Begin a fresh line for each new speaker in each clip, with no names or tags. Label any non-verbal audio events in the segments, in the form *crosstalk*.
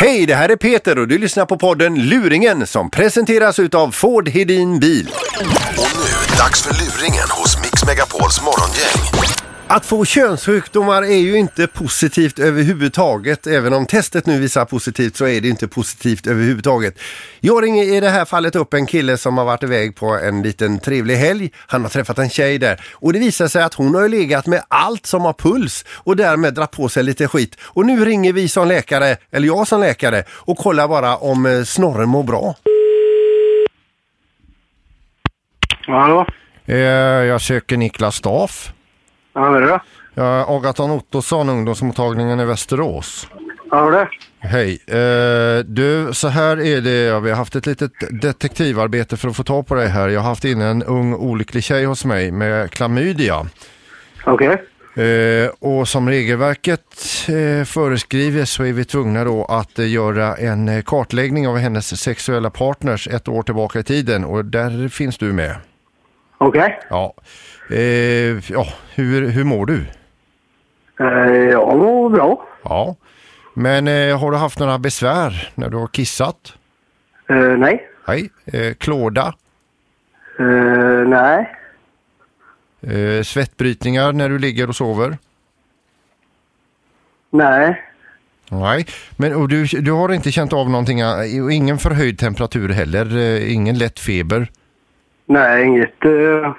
Hej, det här är Peter och du lyssnar på podden Luringen som presenteras utav Ford Hedin Bil.
Och nu, dags för luringen hos Mix Megapols morgongäng.
Att få könssjukdomar är ju inte positivt överhuvudtaget. Även om testet nu visar positivt så är det inte positivt överhuvudtaget. Jag ringer i det här fallet upp en kille som har varit iväg på en liten trevlig helg. Han har träffat en tjej där och det visar sig att hon har ju legat med allt som har puls och därmed dragit på sig lite skit. Och nu ringer vi som läkare, eller jag som läkare, och kollar bara om eh, snorren mår bra.
Hallå?
Eh, Jag söker Niklas Staff.
Ja, det är det.
Agaton Ottosson, ungdomsmottagningen i Västerås.
Ja, det är det.
Hej. Eh, du, så här är det. Vi har haft ett litet detektivarbete för att få tag på dig här. Jag har haft in en ung olycklig tjej hos mig med klamydia.
Okej.
Eh, och som regelverket eh, föreskriver så är vi tvungna då att eh, göra en eh, kartläggning av hennes sexuella partners ett år tillbaka i tiden och där finns du med.
Okej.
Ja, eh, ja hur, hur mår du?
Eh, Jag mår bra.
Ja, men eh, har du haft några besvär när du har kissat?
Eh, nej.
Nej, eh, klåda?
Eh, nej.
Eh, svettbrytningar när du ligger och sover?
Nej.
Nej, men och du, du har inte känt av någonting, eh, och ingen förhöjd temperatur heller, eh, ingen lätt feber?
Nej, inget. Eh,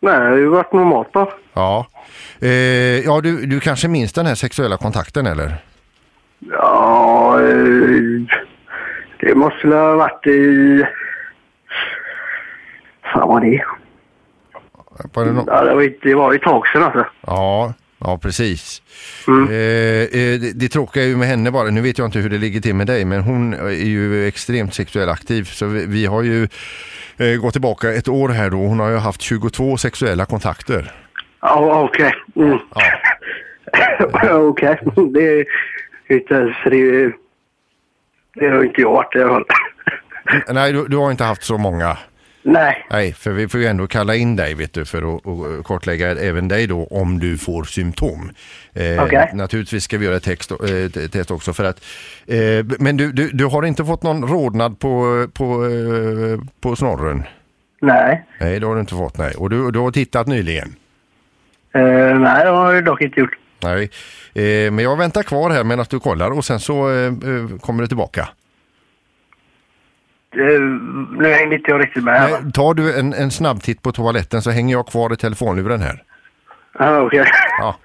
nej, det har ju varit normalt då.
Ja, eh, ja du, du kanske minns den här sexuella kontakten eller?
Ja, eh, det måste väl ha varit i... Fan vad det är.
Var det nå-
Ja, det, var, ju- det var ju ett tag sedan alltså.
Ja, ja precis. Eh, eh, det, det tråkiga är ju med henne bara, nu vet jag inte hur det ligger till med dig, men hon är ju extremt sexuellt aktiv. Så vi, vi har ju eh, gått tillbaka ett år här då, hon har ju haft 22 sexuella kontakter.
Ja, okej. Mm. *laughs* okej. Det är inte ens... Det, det har ju inte jag varit i alla fall. *laughs*
Nej, du, du har inte haft så många.
Nej.
Nej, för vi får ju ändå kalla in dig vet du, för att och kartlägga även dig då om du får symptom. Eh,
Okej.
Naturligtvis ska vi göra ett text, eh, t- test också. För att, eh, men du, du, du har inte fått någon rodnad på, på, eh, på snorren?
Nej.
Nej, det har du inte fått. Nej. Och du, du har tittat nyligen?
Eh, nej, det har jag dock inte gjort.
Nej. Eh, men jag väntar kvar här medan du kollar och sen så eh, eh, kommer du tillbaka.
Eh, nu hängde inte jag riktigt med. här, va?
Nej, tar du en, en snabbtitt på toaletten så hänger jag kvar i telefonluren här.
Ja, Ah, okej. *laughs*
Ja.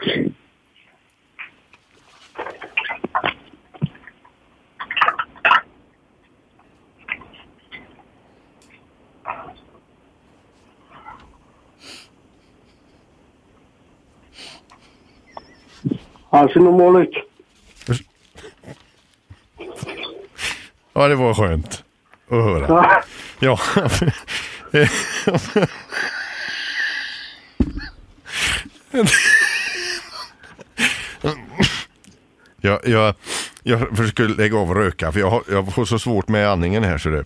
Han ser normal ut.
ja, det var skönt att höra.
Ja.
Ja. Eh, jag, jag, jag försöker lägga av och röka för jag, har, jag får så svårt med andningen här. Så det.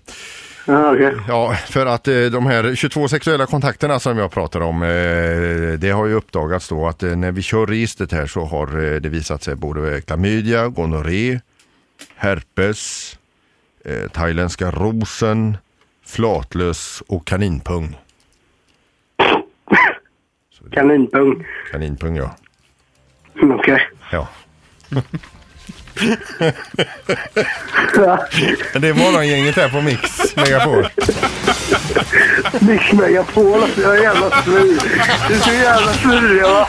Ja, ah, okej.
Ja, för att eh, de här 22 sexuella kontakterna som jag pratar om, eh, det har ju uppdagats då att eh, när vi kör registret här så har eh, det visat sig både klamydia, gonorré, herpes, eh, thailändska rosen, flatlös och kaninpung.
Kaninpung.
Kaninpung ja.
Mm, Okej.
ja.
Ja.
Det är morgongänget här på Mix Megapol.
Mix Megapol alltså. Jag är jävla svin. Du är så jävla surrig va.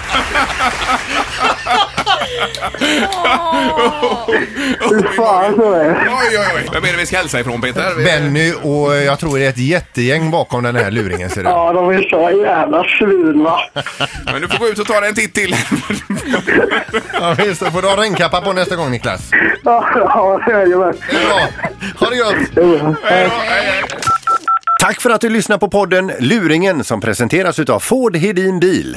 Fy fan så är det.
Oj, oj, oj. Vem är det vi ska hälsa ifrån Peter? Vi-
Benny och eh, jag tror det är ett jättegäng bakom den här luringen ser du.
Ja, de är så jävla svin va.
Men du får gå ut och ta dig en titt till.
Ja, visst, då får du ha regnkappa på nästa gång Niklas.
Ja, ja, jajamän.
Bra, ha det gött!
Hej då, hej, hej.
Tack för att du lyssnar på podden Luringen som presenteras utav Ford Hedin Bil.